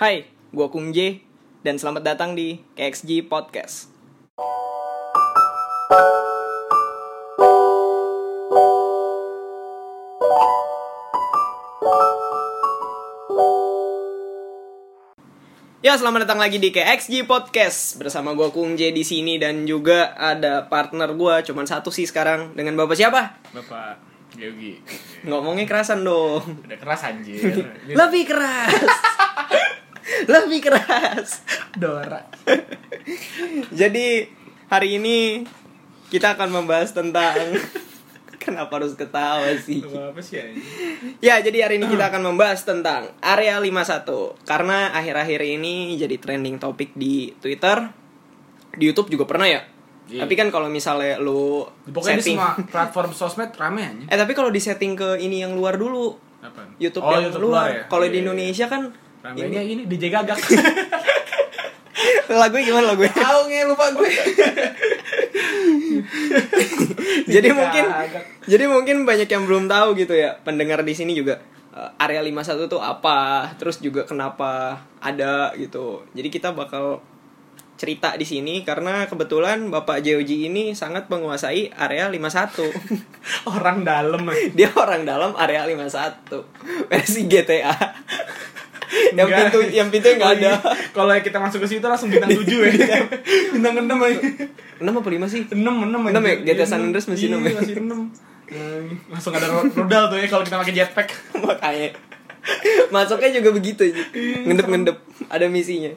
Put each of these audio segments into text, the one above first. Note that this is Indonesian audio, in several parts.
Hai, gua Kung J dan selamat datang di KXG Podcast. Ya, selamat datang lagi di KXG Podcast bersama gua Kung J di sini dan juga ada partner gua cuman satu sih sekarang dengan Bapak siapa? Bapak Yogi Ngomongnya kerasan dong. Udah keras anjir Ini Lebih keras. Lebih keras. Dora Jadi hari ini kita akan membahas tentang kenapa harus ketawa sih? Apa apa sih anjir Ya, jadi hari ini kita akan membahas tentang Area 51 karena akhir-akhir ini jadi trending topik di Twitter, di YouTube juga pernah ya. Iya. Tapi kan kalau misalnya lu Pokoknya di setting semua platform sosmed rame anjing. Eh, tapi kalau di setting ke ini yang luar dulu, Apa? YouTube Oh, yang YouTube luar. luar ya? Kalau di Iya, iya. Indonesia kan Rame Ini ini DJ gagak. lagunya gimana lagunya? Tahu nge lupa gue. jadi mungkin agak. jadi mungkin banyak yang belum tahu gitu ya pendengar di sini juga eh, area 51 tuh apa terus juga kenapa ada gitu jadi kita bakal cerita di sini karena kebetulan Bapak JOG ini sangat menguasai area 51 Orang dalam anjing. dia orang dalam area 51 versi GTA yang Enggak. pintu yang pintu nggak ada Oh, iya. Iya. Kalau kita masuk ke situ langsung bintang 7 ya. bintang 6 anjing. 6 apa 5 sih 6 6 Enam ya? GTA San Andreas masih enam ya? Iya, Masih 6. langsung ada ro- rodal tuh ya kalau kita pakai jetpack. makanya masuknya juga begitu ngendep ngendep ada misinya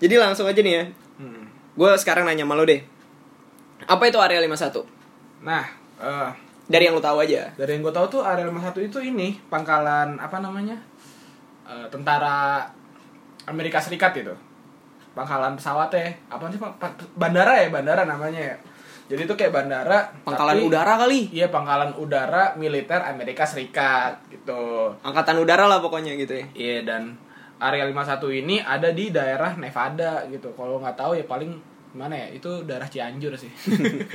jadi langsung aja nih ya gue sekarang nanya sama lo deh apa itu area 51 Nah, eh, dari yang lo tahu aja dari yang gue tahu tuh area 51 itu ini pangkalan apa namanya? Eh, tentara Amerika Serikat itu. Pangkalan pesawatnya, apa sih Pak? Pa- bandara ya, bandara namanya ya. Jadi itu kayak bandara pangkalan tapi- udara kali Iya pangkalan udara militer Amerika Serikat gitu. angkatan udara lah pokoknya gitu ya Iya dan area 51 ini ada di daerah Nevada gitu. Kalau nggak tahu ya paling mana ya itu daerah Cianjur sih.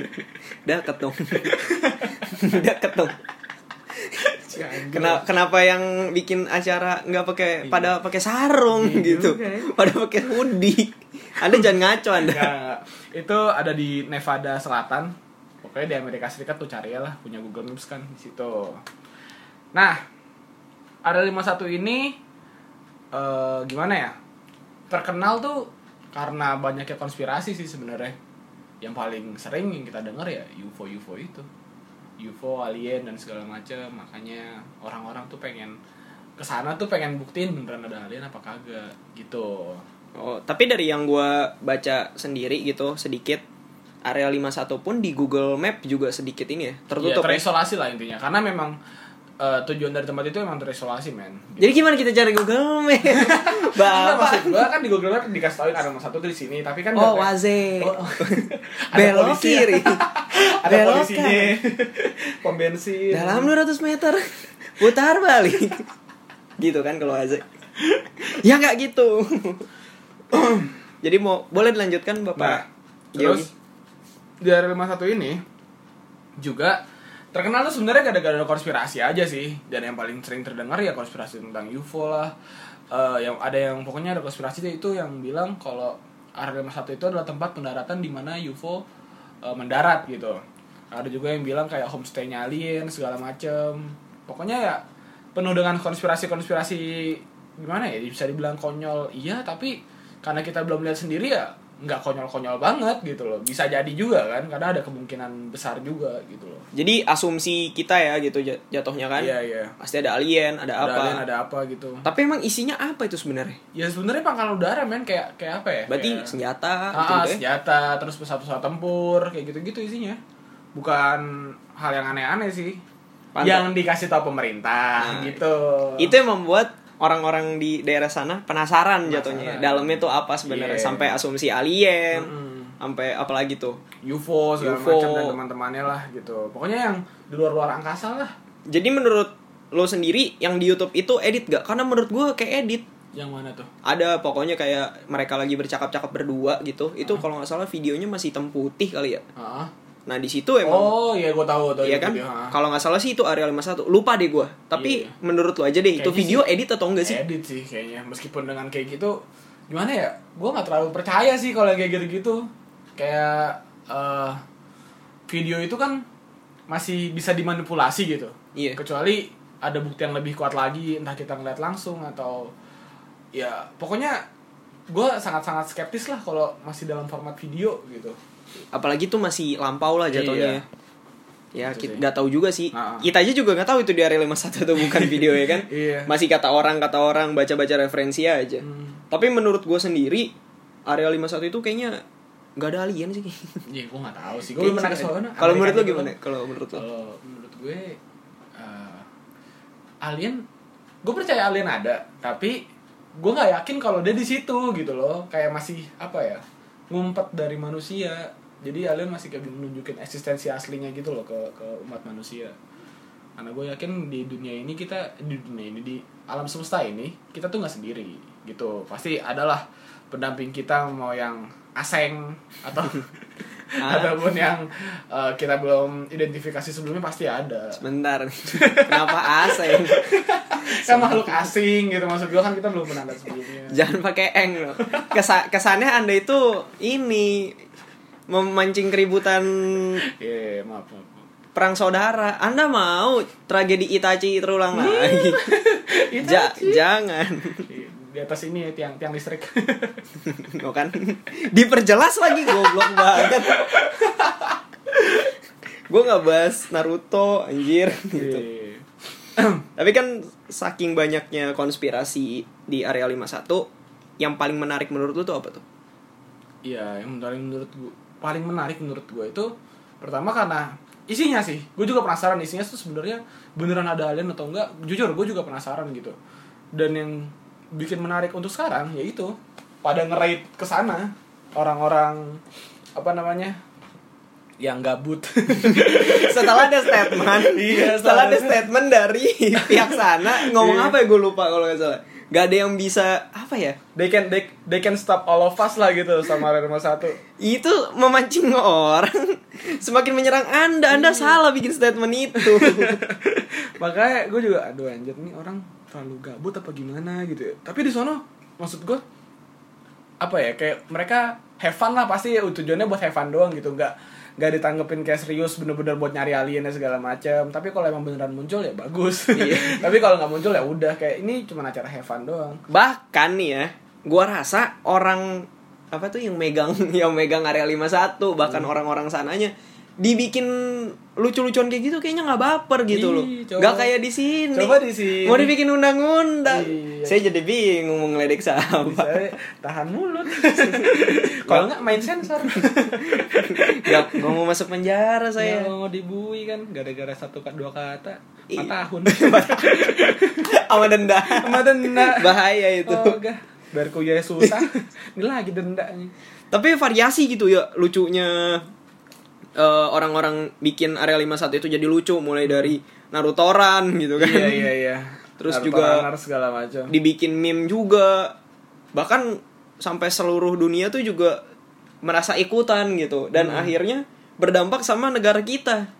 deket dong deket dong Cianjur. Kena- kenapa yang bikin acara nggak pakai pada pakai sarung gitu pada pakai hoodie anda jangan ngaco anda Nggak. itu ada di Nevada Selatan. Pokoknya di Amerika Serikat tuh cari lah punya Google Maps kan di situ. Nah, area 51 ini eh, gimana ya? Terkenal tuh karena banyaknya konspirasi sih sebenarnya. Yang paling sering yang kita dengar ya UFO UFO itu. UFO alien dan segala macam makanya orang-orang tuh pengen kesana tuh pengen buktiin beneran ada alien apa kagak gitu. Oh, tapi dari yang gua baca sendiri gitu sedikit area 51 pun di Google Map juga sedikit ini ya, tertutup. ya. Iya, terisolasi lah intinya karena memang eh, tujuan dari tempat itu emang terisolasi men Jadi gimana kita cari Google Map? Enggak, Bapak. maksud gua kan di Google Map dikasih tauin ada nomor satu tuh di sini tapi kan Oh, nggak- waze. Oh, ada Belok polisi ya. kiri. ada Belok kan. polisinya pom bensin Dalam 200 meter putar balik. gitu kan kalau waze. ya nggak gitu. Jadi mau boleh dilanjutkan nah Bapak. Yogi? terus di area lima satu ini juga terkenal tuh sebenarnya gara-gara konspirasi aja sih dan yang paling sering terdengar ya konspirasi tentang UFO lah Eh, yang ada yang pokoknya ada konspirasi itu yang bilang kalau area 51 itu adalah tempat pendaratan di mana UFO eh, mendarat gitu ada juga yang bilang kayak homestay-nya alien segala macem pokoknya ya penuh dengan konspirasi-konspirasi gimana ya bisa dibilang konyol iya tapi karena kita belum lihat sendiri ya nggak konyol-konyol banget gitu loh bisa jadi juga kan karena ada kemungkinan besar juga gitu loh Jadi asumsi kita ya gitu jat- jatuhnya kan. Iya iya. Pasti ada alien, ada Ada apa. alien, ada apa gitu. Tapi emang isinya apa itu sebenarnya? Ya sebenarnya pangkalan udara men kayak kayak apa ya? Berarti Kayak- senjata gitu, Ah, ah, gitu ya? senjata, terus pesawat-pesawat tempur kayak gitu-gitu isinya. Bukan hal yang aneh-aneh sih. Pantas. Yang dikasih tahu pemerintah Nah, gitu. Itu yang membuat orang-orang di daerah sana penasaran, jatuhnya. Penasaran. Dalamnya tuh apa sebenarnya Iya. sampai asumsi alien, Mm-mm. sampai apalagi tuh. UFO segala UFO. macam dan teman-temannya lah gitu. Pokoknya yang di luar-luar angkasa lah. Jadi menurut lo sendiri yang di YouTube itu edit gak? Karena menurut gue kayak edit Yang mana tuh? ada pokoknya Hmm. kayak mereka lagi bercakap-cakap berdua gitu. Itu kalau nggak salah videonya masih hitam putih kali ya. Heeh. Nah, di situ emang oh iya gue tahu tuh Iya itu kan? video, ha. Kalau nggak salah sih itu area 51. Lupa deh gua. Tapi Iya, iya. menurut lu aja deh itu Kayaknya video edit atau enggak sih? edit sih kayaknya meskipun dengan kayak gitu gimana ya gue nggak terlalu percaya sih kalau yang kayak gitu gitu kayak eh, video itu kan masih bisa dimanipulasi gitu Iya. kecuali ada bukti yang lebih kuat lagi entah kita ngeliat langsung atau ya pokoknya gue sangat-sangat skeptis lah kalau masih dalam format video gitu Apalagi tuh masih lampau lah jatuhnya. Ya, Iya. Gitu kita sih. nggak tahu juga sih. Ah, ah. Kita aja juga nggak tahu itu di area 51 atau bukan video ya kan? Iya. Masih kata orang kata orang baca-baca referensi aja. Hmm. Tapi menurut gua sendiri area 51 itu kayaknya nggak ada alien sih. iya gue nggak tahu sih Kayaknya sih nggak ada. Kalau menurut lu gimana? Kalau menurut lu? Kalau menurut gue eh, alien, gue percaya alien ada, tapi gue nggak yakin kalau dia di situ gitu loh, kayak masih apa ya ngumpet dari manusia. Jadi alien masih kayak belum nunjukin eksistensi aslinya gitu loh ke ke umat manusia. Karena gue yakin di dunia ini kita di dunia ini di alam semesta ini kita tuh nggak sendiri gitu. Pasti adalah pendamping kita mau yang aseng atau ataupun yang eh, kita belum identifikasi sebelumnya pasti ada. Sebentar. Kenapa aseng? Kan makhluk asing gitu maksud gue kan kita belum pernah lihat sebelumnya. Jangan pakai eng loh. Kesa- kesannya Anda itu ini memancing keributan Iya, maaf, maaf. perang saudara. Anda mau tragedi Itachi terulang lagi. Ja- jangan. Di, di atas ini ya tiang tiang listrik. Oh kan diperjelas lagi goblok banget. Gue nggak bahas Naruto anjir gitu. Iya. Tapi kan saking banyaknya konspirasi di area 51 yang paling menarik menurut lu tuh apa tuh? Iya, yang paling menurut gue paling menarik menurut gue itu pertama karena isinya sih. Gue juga penasaran isinya tuh sebenarnya beneran ada alien atau enggak. Jujur gue juga penasaran gitu. Dan yang bikin menarik untuk sekarang yaitu pada ngerait ke sana orang-orang apa namanya? yang gabut. Setelah ada statement, Iya, setelah setelah ada ada- statement Iya. dari pihak sana ngomong Iya. apa ya gue lupa kalau nggak salah. Gak ada yang bisa apa ya? they can they, they can stop all of us lah gitu sama Area Rumah Satu. Itu memancing orang semakin menyerang Anda. Anda salah bikin statement itu. Makanya gue juga aduh anjir nih orang terlalu gabut apa gimana gitu. ya. Tapi di sono maksud gue apa ya kayak mereka have fun lah pasti tujuannya buat have fun doang gitu nggak nggak ditanggepin kayak serius bener-bener buat nyari alien dan segala macam tapi kalau emang beneran muncul ya bagus Iya. tapi kalau nggak muncul ya udah kayak ini cuma acara have fun doang Bahkan nih ya, gua rasa orang apa tuh yang megang yang megang area 51 bahkan Hmm. orang-orang sananya dibikin lucu-lucuan kayak gitu kayaknya nggak baper gitu Ih, loh. coba. Nggak kayak di sini. Coba di sini. Mau dibikin undang-undang. Iya. Saya jadi bingung mau ngeledek bisa siapa. tahan mulut kalau nggak main sensor Gak, gak mau masuk penjara saya saya. mau dibui kan gara-gara satu ka- dua kata Iya. empat tahun Sama denda. sama denda Bahaya itu. oh gah biar kuliah susah ini lagi denda nih Tapi variasi gitu ya lucunya eh, orang-orang bikin area 51 itu jadi lucu mulai dari Narutoran gitu kan. iya iya iya Terus Taruh juga- taruh segala macam Dibikin meme juga. Bahkan sampai seluruh dunia tuh juga merasa ikutan gitu dan Hmm. akhirnya berdampak sama negara kita.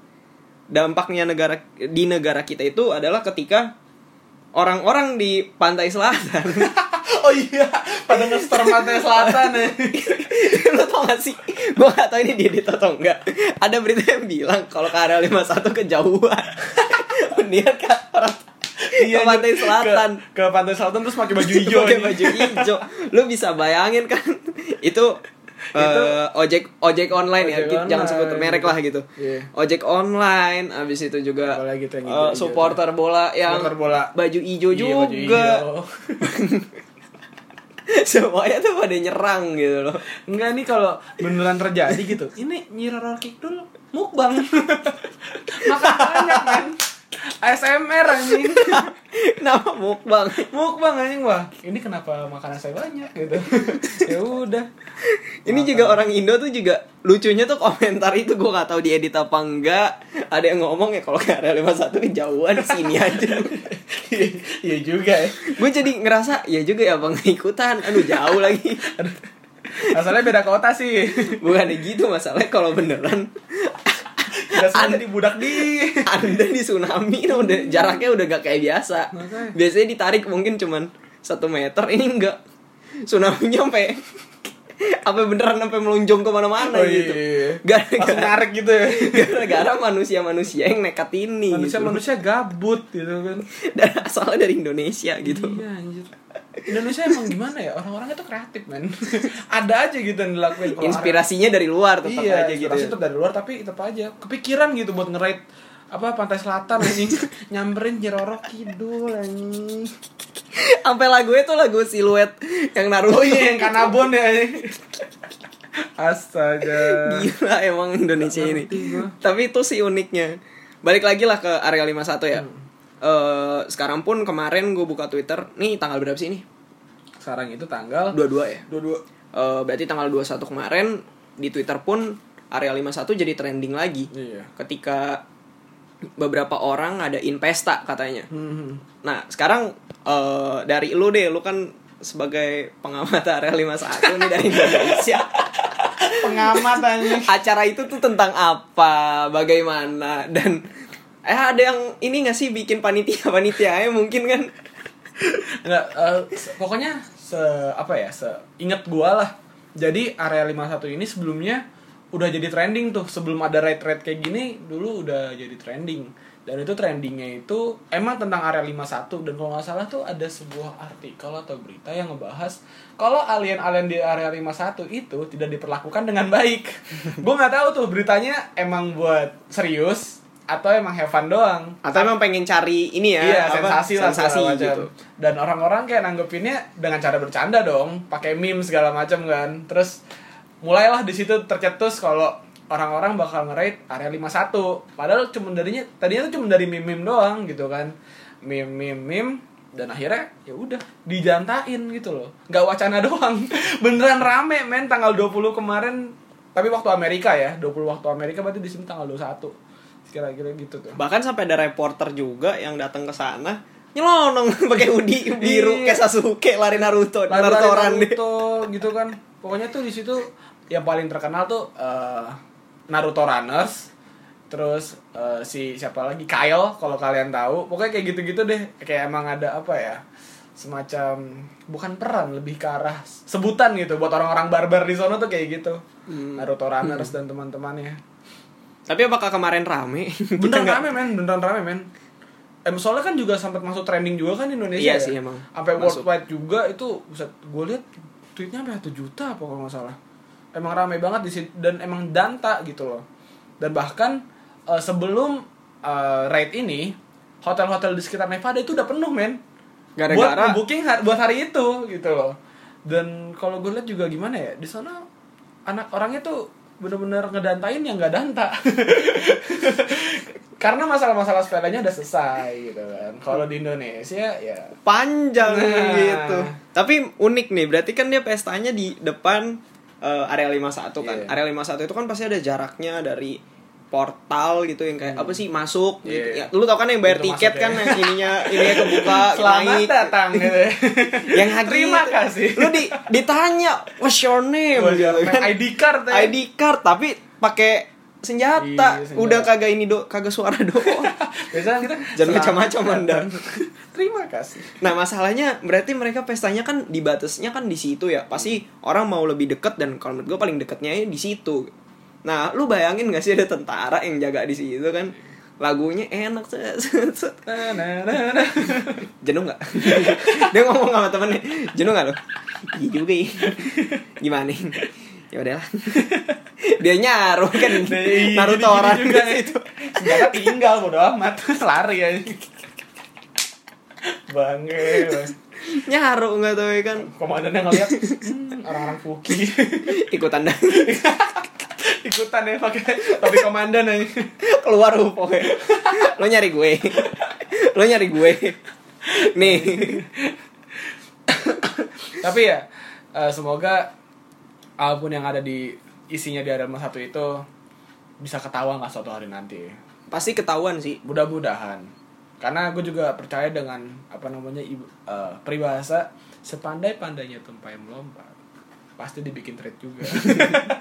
Dampaknya negara di negara kita itu adalah ketika orang-orang di pantai selatan oh iya pada nge-store pantai selatan ya lo tau gak sih gue gak tau ini dia edit atau enggak ada berita yang bilang kalau ke area 51 kejauhan mendingan ke arah ke pantai ke- selatan Iya, ke, pantai selatan terus pakai baju hijau pakai nih. baju hijau lo bisa bayangin kan itu Itu- eh, ojek ojek online ya Ojek Kita jangan sebut online, merek gitu. lah gitu Iya. ojek online abis itu juga Apalagi tuh yang eh, hijau-hijau supporter bola yang Supporter bola. baju hijau Iya, juga baju hijau. semuanya tuh pada nyerang gitu loh Enggak nih kalau beneran terjadi gitu. Ini nyiror kick dulu mukbang. Makan banyak kan. ASMR anjing. kenapa mukbang Mukbang anjing wah. Ini kenapa makanan saya banyak gitu. ya udah. Ini juga orang Indo tuh juga lucunya tuh komentar itu gue gak tahu diedit apa enggak. Ada yang ngomong ya kalau nggak ada 51 kejauhan sini aja. Iya juga ya. gue jadi ngerasa ya juga ya bang ikutan. Aduh jauh lagi. Asalnya beda kota sih. Bukan gitu masalahnya kalau beneran tidak sengaja dibudak di Anda di tsunami itu udah jaraknya udah gak kayak biasa. Makanya. Biasanya ditarik mungkin cuman satu meter, ini enggak. Tsunami-nya sampai apa beneran sampai melonjong kemana-mana Oh, gitu. Iya. iya. Gara-gara langsung narik gitu ya gara-gara manusia-manusia yang nekat ini manusia gitu. manusia gabut gitu kan Dan asalnya dari Indonesia gitu. iya anjir Indonesia emang gimana ya orang-orangnya tuh kreatif men ada aja gitu yang dilakuin Kalau Inspirasinya dari luar orang- tetap iya, aja gitu. inspirasi tetap dari luar tapi tetap aja kepikiran gitu buat ngerait apa pantai selatan anjing nyamperin Jeroro Kidul anjing Sampai lagunya tuh lagu siluet yang Naruto. gitu. oh iya yang kanabon ya anjing. astaga Gila emang Indonesia Nggak ini. ngerti gua. Tapi itu sih uniknya. Balik lagi lah ke area 51 Hmm. ya. Eh, sekarang pun kemarin gue buka Twitter, nih tanggal berapa sih ini? sekarang itu tanggal 22 ya. dua dua Eh, berarti tanggal 21 kemarin di Twitter pun area 51 jadi trending lagi. Iya. Ketika beberapa orang ngadain pesta katanya. Hmm. Nah, sekarang eh, dari lu deh, lu kan sebagai pengamat area 51 nih dari Indonesia. pengamat anjing acara itu tuh tentang apa, bagaimana dan eh ada yang ini nggak sih bikin panitia panitia ya mungkin kan Nggak, eh, se- pokoknya se apa ya se inget gua lah jadi area 51 ini sebelumnya udah jadi trending tuh sebelum ada rate rate kayak gini dulu udah jadi trending dan itu trendingnya itu emang tentang area 51 dan kalau nggak salah tuh ada sebuah artikel atau berita yang ngebahas kalau alien-alien di area 51 itu tidak diperlakukan dengan baik gue nggak tahu tuh beritanya emang buat serius atau emang have fun doang atau emang pengen cari ini ya iya apa, sensasi lah sensasi segala macam. gitu dan orang-orang kayak nanggepinnya dengan cara bercanda dong pakai meme segala macam kan terus mulailah di situ tercetus kalau orang-orang bakal nge-rate area 51 padahal cuma darinya tadinya tuh cuma dari meme-meme doang gitu kan meme meme meme dan akhirnya ya udah dijantain gitu loh nggak wacana doang beneran rame men tanggal 20 kemarin tapi waktu Amerika ya 20 waktu Amerika berarti di sini tanggal 21 kira-kira gitu tuh bahkan sampai ada reporter juga yang datang ke sana nyelonong pakai hoodie biru Iya. kayak Sasuke lari Naruto Lari-lari Naruto orang deh Naruto gitu kan pokoknya tuh di situ yang paling terkenal tuh eh, Naruto Runners terus eh, si siapa lagi Kyle kalau kalian tahu pokoknya kayak gitu-gitu deh kayak emang ada apa ya semacam bukan peran lebih ke arah sebutan gitu buat orang-orang barbar di sana tuh kayak gitu Naruto Runners dan teman-temannya tapi apakah kemarin rame Kita beneran nggak- rame men beneran rame men em soalnya kan juga sempat masuk trending juga kan di Indonesia Iya ya? sih, emang. sampai Masuk. worldwide juga itu buset gue lihat tweetnya sampai satu juta apa kalau nggak salah emang rame banget di situ dan emang danta gitu loh dan bahkan eh, sebelum eh, raid ini hotel-hotel di sekitar Nevada itu udah penuh men Gara-gara- buat booking buat hari itu gitu loh dan kalau gue lihat juga gimana ya di sana anak orangnya tuh bener-bener ngedantain yang nggak danta karena masalah-masalah sepedanya udah selesai gitu kan kalau di Indonesia ya panjang Nah. gitu. Tapi unik nih, berarti kan dia pestanya di depan eh, area 51 kan. Iya. Area 51 itu kan pasti ada jaraknya dari portal gitu yang kayak apa sih masuk gitu. Hmm. Iya. Ya, lu tau kan yang bayar Pintu tiket masuk kan ya. yang ininya ininya kebuka selamat naik. datang gitu Yang hagi terima kasih Lu di, ditanya what's your name What's your gitu name? kan. ID card ya. ID card tapi pakai senjata. Iya, senjata. Udah kagak ini do kagak suara doang. biasanya kita Jangan selamat macam-macam, Anda. datang. terima kasih Nah masalahnya berarti mereka pestanya kan di batasnya kan di situ ya pasti orang mau lebih deket dan kalau menurut gue paling deketnya ya di situ. Nah lu bayangin gak sih ada tentara yang jaga di situ kan lagunya enak set, set, set. Na, na, na, na. jenuh nggak? Dia ngomong sama temennya jenuh nggak lo? Iya juga ya. gimana? Ya udahlah. Dia nyaru kan Iya, Naruto gini-gini orang juga ya. di nih. situ. senjata tinggal bodo amat lari ya bangke bang. Nyaru nggak tuh ya kan komandannya ngeliat "Hmm, orang-orang fuki ikutan dah ikutan ya pakai topi komandan aja keluar UFO ya. lo nyari gue lo nyari gue nih tapi ya eh, semoga album yang ada di isinya di Adam satu itu bisa ketawa nggak suatu hari nanti pasti ketahuan sih mudah-mudahan karena gue juga percaya dengan apa namanya ibu- eh, peribahasa sepandai-pandainya tumpai melompat pasti dibikin thread juga.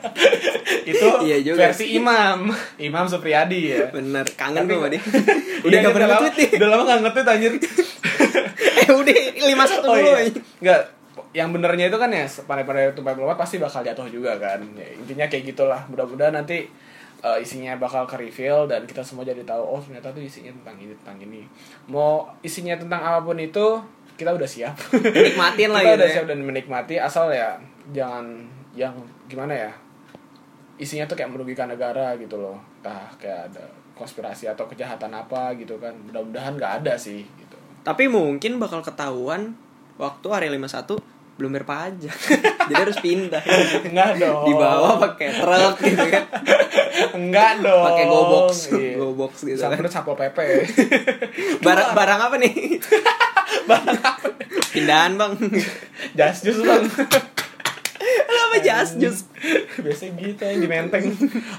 itu Iya juga. versi Imam Imam Supriyadi ya Bener, kangen Tapi- gue sama dia. udah Iya, gak pernah udah lama- nge-tweet nih. udah lama gak nge-tweet anjir eh udah 51 dulu. oh ya. iya anjing. nggak yang benernya itu kan ya pandai-pandai tupai peluat pasti bakal jatuh juga kan Ya, intinya kayak gitulah mudah-mudahan nanti eh, isinya bakal ke reveal dan kita semua jadi tahu oh ternyata tuh isinya tentang ini tentang ini mau isinya tentang apapun itu kita udah siap Nikmatin lah kita gitu udah ya. siap dan menikmati asal ya jangan yang gimana ya isinya tuh kayak merugikan negara gitu loh entah kayak ada konspirasi atau kejahatan apa gitu kan mudah-mudahan nggak ada sih gitu Tapi mungkin bakal ketahuan waktu hari 51 belum bayar pajak. Jadi harus pindah. enggak dong Dibawa pakai truk gitu kan. Enggak dong. Pakai GoBox. Iya. GoBox gitu kan. Sampai Sapol PP. Barang barang apa nih? Barang apa? Pindahan, Bang. Jas jus bang. Apa jas jus? Biasanya gitu ya di menteng.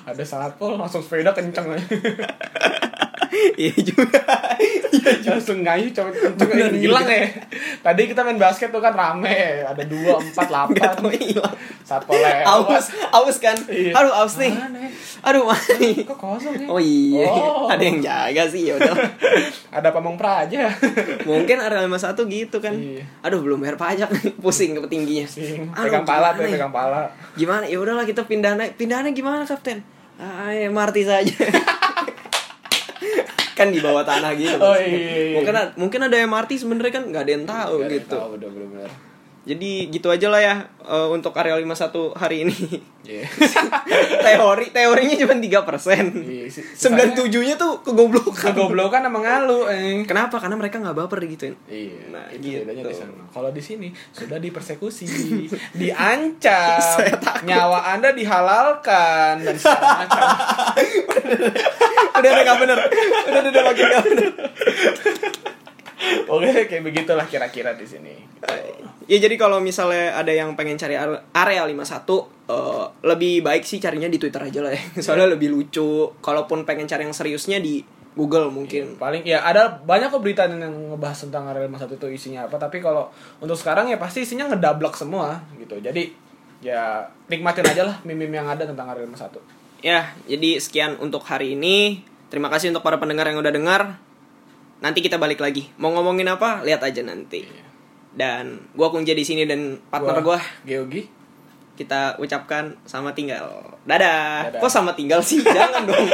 Ada Sapol langsung sepeda kenceng aja. Iya juga. langsung ngayu cowok kenceng aja, Iya. Bener juga. hilang ya. Tadi kita main basket tuh kan rame. Ada dua, Gak empat, tau delapan. hilang. Satpol lewat. Aus, aus kan. Eh, Iya. Aduh, aus nih. Mana ya? Aduh, mana nih? Kok kosong ya? Oh iya, Oh. ada yang jaga sih ya udah. Ada pamong praja. Mungkin area 51 gitu kan. Iya. Aduh belum bayar pajak pusing ke petingginya. Pusing. Aduh, Pegang pala tuh, gimana ya? pegang pala. Gimana? Ya udahlah kita pindah naik. Pindahnya gimana kapten? Ah, ya MRT saja. kan di bawah tanah gitu. Oh, iya, iya. Mungkin a- mungkin ada MRT sebenarnya kan nggak ada yang tahu Nggak ada yang gitu. tahu, bener-bener. Jadi Jadi gitu aja lah ya eh, untuk area 51 hari ini. Iya. Teori teorinya cuma 3%. Iya, si- Sembilan tujuhnya tuh kegoblokan. Kegoblokan emang ngalu, eh. Kenapa? Karena mereka nggak baper gituin. Iya, Nah, itu gitu. bedanya di sana. Kalau di sini sudah dipersekusi, diancam, Saya takut. nyawa Anda dihalalkan dan segala macam. udah udah nggak bener. Udah udah, udah makin nggak bener. Oke, kayak begitulah kira-kira di sini. Ya jadi kalau misalnya ada yang pengen cari are- area 51 eh, lebih baik sih carinya di Twitter aja lah ya. Soalnya lebih lucu. Kalaupun pengen cari yang seriusnya di Google mungkin. Paling ya ada banyak kok berita yang ngebahas tentang Ariel Mas itu isinya apa, tapi kalau untuk sekarang ya pasti isinya ngedablek semua gitu. Jadi ya nikmatin aja lah meme yang ada tentang Ariel Mas satu. Ya, jadi sekian untuk hari ini. Terima kasih untuk para pendengar yang udah dengar. Nanti kita balik lagi. Mau ngomongin apa? Lihat aja nanti. Dan gua kunci di sini dan partner gua Geogi. kita ucapkan sama tinggal. Dadah. Dadah. Kok sama tinggal sih? Jangan dong.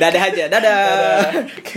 Dadah aja. Dadah. Dadah.